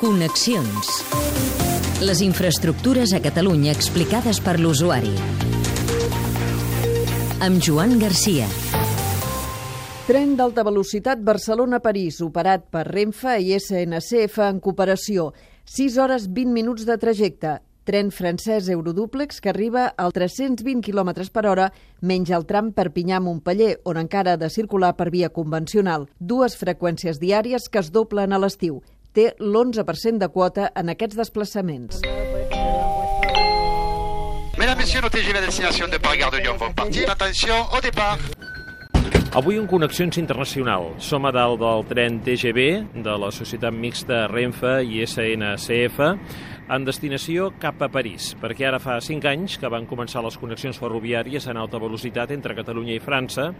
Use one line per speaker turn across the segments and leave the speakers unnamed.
Connexions. Les infraestructures a Catalunya explicades per l'usuari. Amb Joan Garcia.
Tren d'alta velocitat Barcelona-París, operat per Renfe i SNCF en cooperació. 6 hores 20 minuts de trajecte. Tren francès Eurodúplex que arriba al 320 km per hora, menys el tram Perpinyà-Montpeller, on encara ha de circular per via convencional. Dues freqüències diàries que es doblen a l'estiu. Té l'11% de quota en aquests desplaçaments.
Mesdames, Messieurs, nos TGV à destination de Paris-Gare de Lyon vont partir. Attention, au départ.
Avui en Connexions Internacional. Som a dalt del tren TGV de la Societat Mixta Renfe i SNCF en destinació cap a París, perquè ara fa 5 anys que van començar les connexions ferroviàries en alta velocitat entre Catalunya i França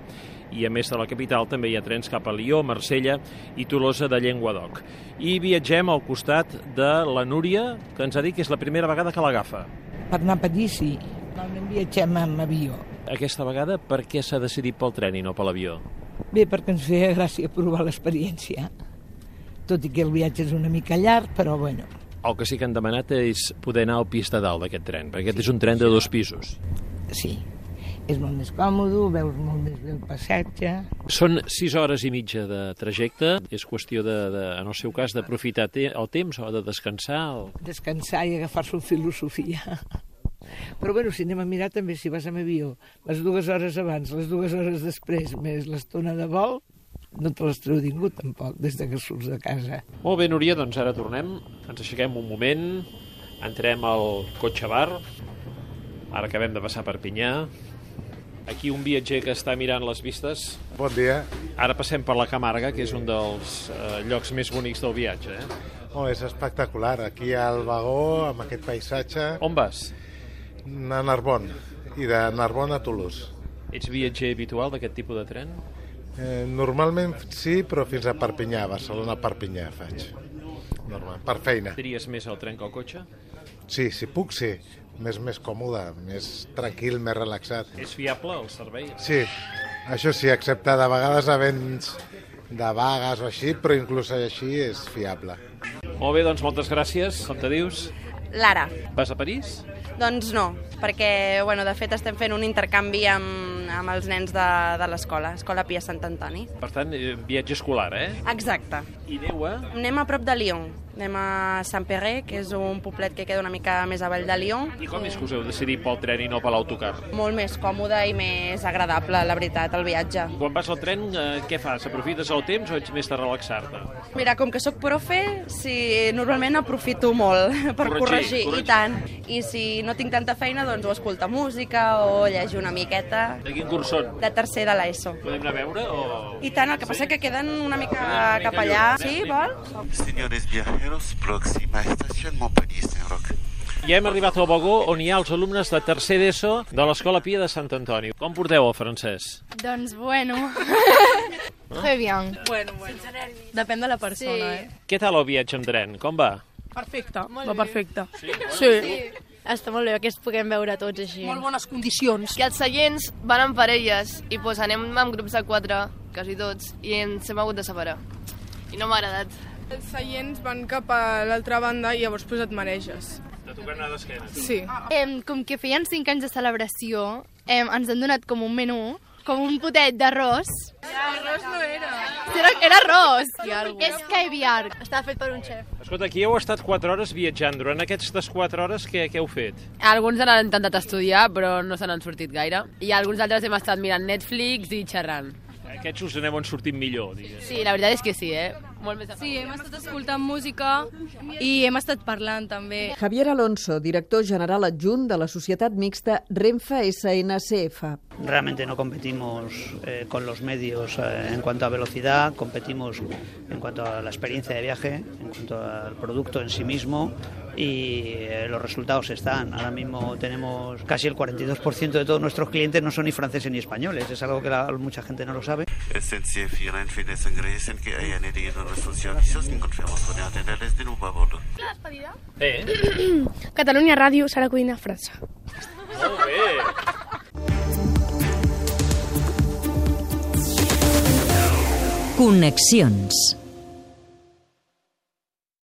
i a més de la capital també hi ha trens cap a Lió, Marsella i Tolosa de Llenguadoc. I viatgem al costat de la Núria, que ens ha dit que és la primera vegada que l'agafa.
Per anar a París, sí. Normalment viatgem amb avió.
Aquesta vegada per què s'ha decidit pel tren i no per l'avió?
Bé, perquè ens feia gràcia provar l'experiència. Tot i que el viatge és una mica llarg, però bueno.
El que sí que han demanat és poder anar al pis de dalt d'aquest tren, perquè aquest és un tren de dos pisos.
Sí, és molt més còmode, veus molt més bé el passatge.
Són sis hores i mitja de trajecte. És qüestió, de, de en el seu cas, d'aprofitar te el temps o de descansar. O...
Descansar i agafar-s'ho en filosofia. Però bueno, si anem a mirar també, si vas amb avió, les dues hores abans, les dues hores després, més l'estona de vol, no te l'has treu ningú tampoc, des de que surts de casa.
Molt bé, Núria, doncs ara tornem. Ens aixequem un moment, entrem al cotxe bar. Ara acabem de passar per Pinyà. Aquí un viatger que està mirant les vistes.
Bon dia.
Ara passem per la Camarga, que és un dels eh, llocs més bonics del viatge. Eh?
Oh, és espectacular. Aquí al vagó, amb aquest paisatge,
On vas?
a Narbon. I de Narbon a Toulouse.
Ets viatger habitual d'aquest tipus de tren?
Eh, normalment sí, però fins a Perpinyà, Barcelona-Perpinyà faig. Normal, per feina.
Tries més el tren que el cotxe?
Sí, si puc, sí. Més, més còmode, més tranquil, més relaxat.
És fiable el servei?
Sí, això sí, excepte de vegades havents de vagues o així, però inclús així és fiable.
Molt bé, doncs moltes gràcies. Com te dius?
Lara.
Vas a París?
Doncs no, perquè, bueno, de fet estem fent un intercanvi amb, amb els nens de, de l'escola, Escola Pia Sant Antoni.
Per tant, eh, viatge escolar, eh?
Exacte.
I eh? aneu a...
Anem a prop de Lyon. Anem a Saint-Péret, que és un poblet que queda una mica més avall de Lyon.
I com és que us heu decidit pel tren i no per l'autocar?
Molt més còmode i més agradable, la veritat, el viatge.
Quan vas al tren, eh, què fas? Aprofites el temps o ets més de relaxar-te?
Mira, com que sóc profe, sí, normalment aprofito molt per
Corregir,
corregir,
corregir.
i tant. I si no tinc tanta feina, doncs o escolta música o llegir una miqueta.
De quin curs són?
De tercer de l'ESO.
Podem anar a veure o...
I tant, el que passa que queden una mica cap allà. Sí, vols?
Señores viajeros, próxima estación Montpellier Saint-Roch.
Ja hem arribat al vagó on hi ha els alumnes de tercer d'ESO de l'Escola Pia de Sant Antoni. Com porteu el francès?
Doncs bueno. Très bien. Bueno, bueno. Depèn de la persona, sí. eh?
Què tal el viatge en tren? Com va?
Perfecte, va perfecte. Sí,
Està molt bé que es puguem veure tots així.
Molt bones condicions.
que els seients van en parelles i doncs, anem en grups de quatre, quasi tots, i ens hem hagut de separar. I no m'ha agradat.
Els seients van cap a l'altra banda i llavors pues, et mareges.
De tocar anar d'esquena.
Sí.
Em, com que feien 5 anys de celebració, em, ens han donat com un menú, com un potet d'arròs. Arròs no era. Era, era arròs. És caviar. Estava fet per un xef.
Escolta, aquí heu estat 4 hores viatjant. Durant aquestes 4 hores, què, què heu fet?
Alguns han intentat estudiar, però no se n'han sortit gaire. I alguns altres hem estat mirant Netflix i xerrant.
Aquests us n'heu sortit millor, digues.
Sí, la veritat és que sí, eh? Molt més sí, hem estat escoltant música i hem estat parlant també.
Javier Alonso, director general adjunt de la societat mixta Renfe-SNCF.
Realmente no competimos eh, con los medios eh, en cuanto a velocidad, competimos en cuanto a la experiencia de viaje, en cuanto al producto en sí mismo y eh, los resultados están. Ahora mismo tenemos casi el 42% de todos nuestros clientes no son ni franceses ni españoles, es algo que la- mucha gente no lo sabe.
SNCF y Renfe de Sangre dicen que hayan adherido a los socialistas y confiamos con el tener desde un bordo.
Bé,
Catalunya Ràdio, Sara Codina, França.
molt bé.
Connexions.